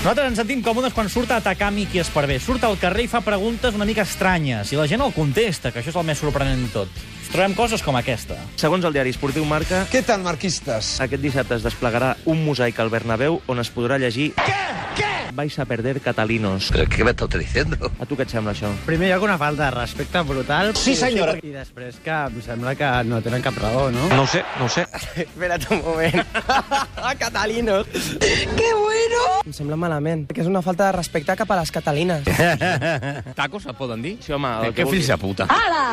Nosaltres ens sentim còmodes quan surt a atacar Miqui Esparvé. Surt al carrer i fa preguntes una mica estranyes, i la gent el contesta, que això és el més sorprenent de tot. Ens trobem coses com aquesta. Segons el diari esportiu Marca, Què tal, marquistes? aquest dissabte es desplegarà un mosaic al Bernabéu on es podrà llegir Què? Què? Vais a perder catalinos. ¿Pero qué me estás diciendo? A tu què et sembla això? primer lloc, una falta de respecte brutal. Sí, senyora. I després que em sembla que no tenen cap raó, no? No sé, no sé. Espera't un moment. Catalinos. Que bueno! Em sembla malament, perquè és una falta de respecte cap a les Catalines. Tacos se poden dir? Sí, home, el Eh, Què que fills de vulguis. puta? Ala!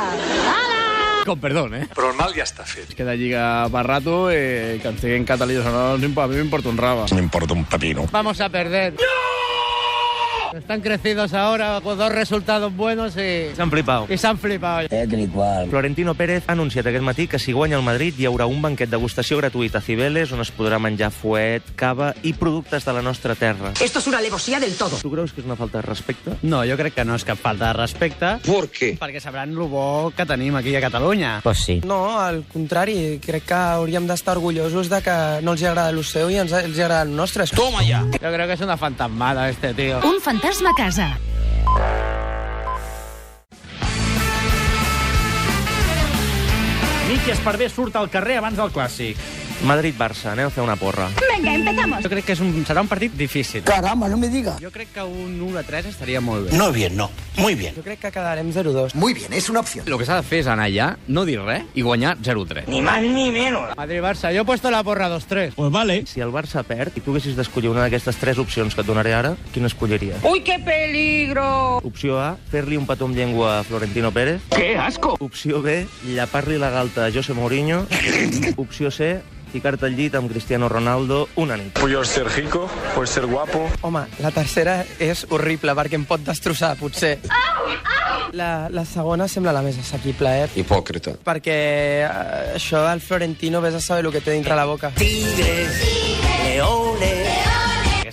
Ala! Con perdón, eh? Pero el mal ya está fet. Es que la lliga va rato, eh, que ens diguin catalanes o no, no imp- a mi m'importa un raba. No importa un pepino. Vamos a perder. Están crecidos ahora con dos resultados buenos y, S'han flipat. y se han flipado. Florentino Pérez ha anunciat aquest matí que si guanya el Madrid hi haurà un banquet degustació gratuït a Cibeles on es podrà menjar fuet, cava i productes de la nostra terra. Esto es una alevosía del todo. Tu creus que és una falta de respecte? No, jo crec que no és cap falta de respecte, ¿Por qué? perquè sabran lo bo que tenim aquí a Catalunya. Pues sí. No, al contrari, crec que hauríem d'estar orgullosos de que no els hi agrada el seu i ens, els hi agrada el nostre. Toma ja! Yo creo que es una fantasmada este tío. Un fantasma a casa. Miqui Esparvé surt al carrer abans del clàssic. Madrid-Barça, anem a fer una porra. Venga, empezamos. Jo crec que és un, serà un partit difícil. Caramba, no me diga. Jo crec que un 1 a 3 estaria molt bé. No bien, no. Muy bien. Jo crec que quedarem 0-2. Muy bien, es una opción. Lo que s'ha de fer és anar allà, no dir res i guanyar 0-3. Madrid-Barça, yo he puesto la porra 2-3. Pues vale. Si el Barça perd i tu haguessis d'escollir una d'aquestes tres opcions que et donaré ara, quina escolliries? ¡Uy, qué peligro! Opció A, fer-li un petó amb llengua a Florentino Pérez. Que asco! Opció B, llapar-li la galta a José Mourinho. Opció C, ficar-te al llit amb Cristiano Ronaldo una nit. Puedo ser rico, puedo ser guapo. Home, la tercera és horrible, perquè em pot destrossar, potser. La, la segona sembla la més assequible, eh? Hipócrita. Perquè eh, això del Florentino vés a saber el que té dintre la boca.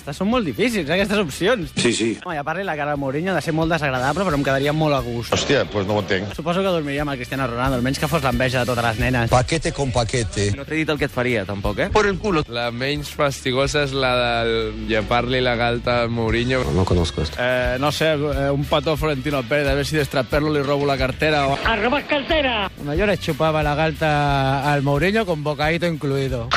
Aquestes són molt difícils, eh, aquestes opcions. Sí, sí. Home, ja parli la cara de Mourinho, ha de ser molt desagradable, però em quedaria molt a gust. Hostia, pues no lo tengo. Suposo que dormiria amb el Cristiano Ronaldo, almenys que fos l'enveja de totes les nenes. Paquete con paquete. No t'he dit el que et faria, tampoc, eh? La menys fastigosa és la del llepar-li la galta a Mourinho. No conozco esto. Eh, no sé, eh, un petó a Florentino Pérez, a veure si destraperlo li robo la cartera. O... Bueno, yo le chupaba la galta al Mourinho con bocadito incluido.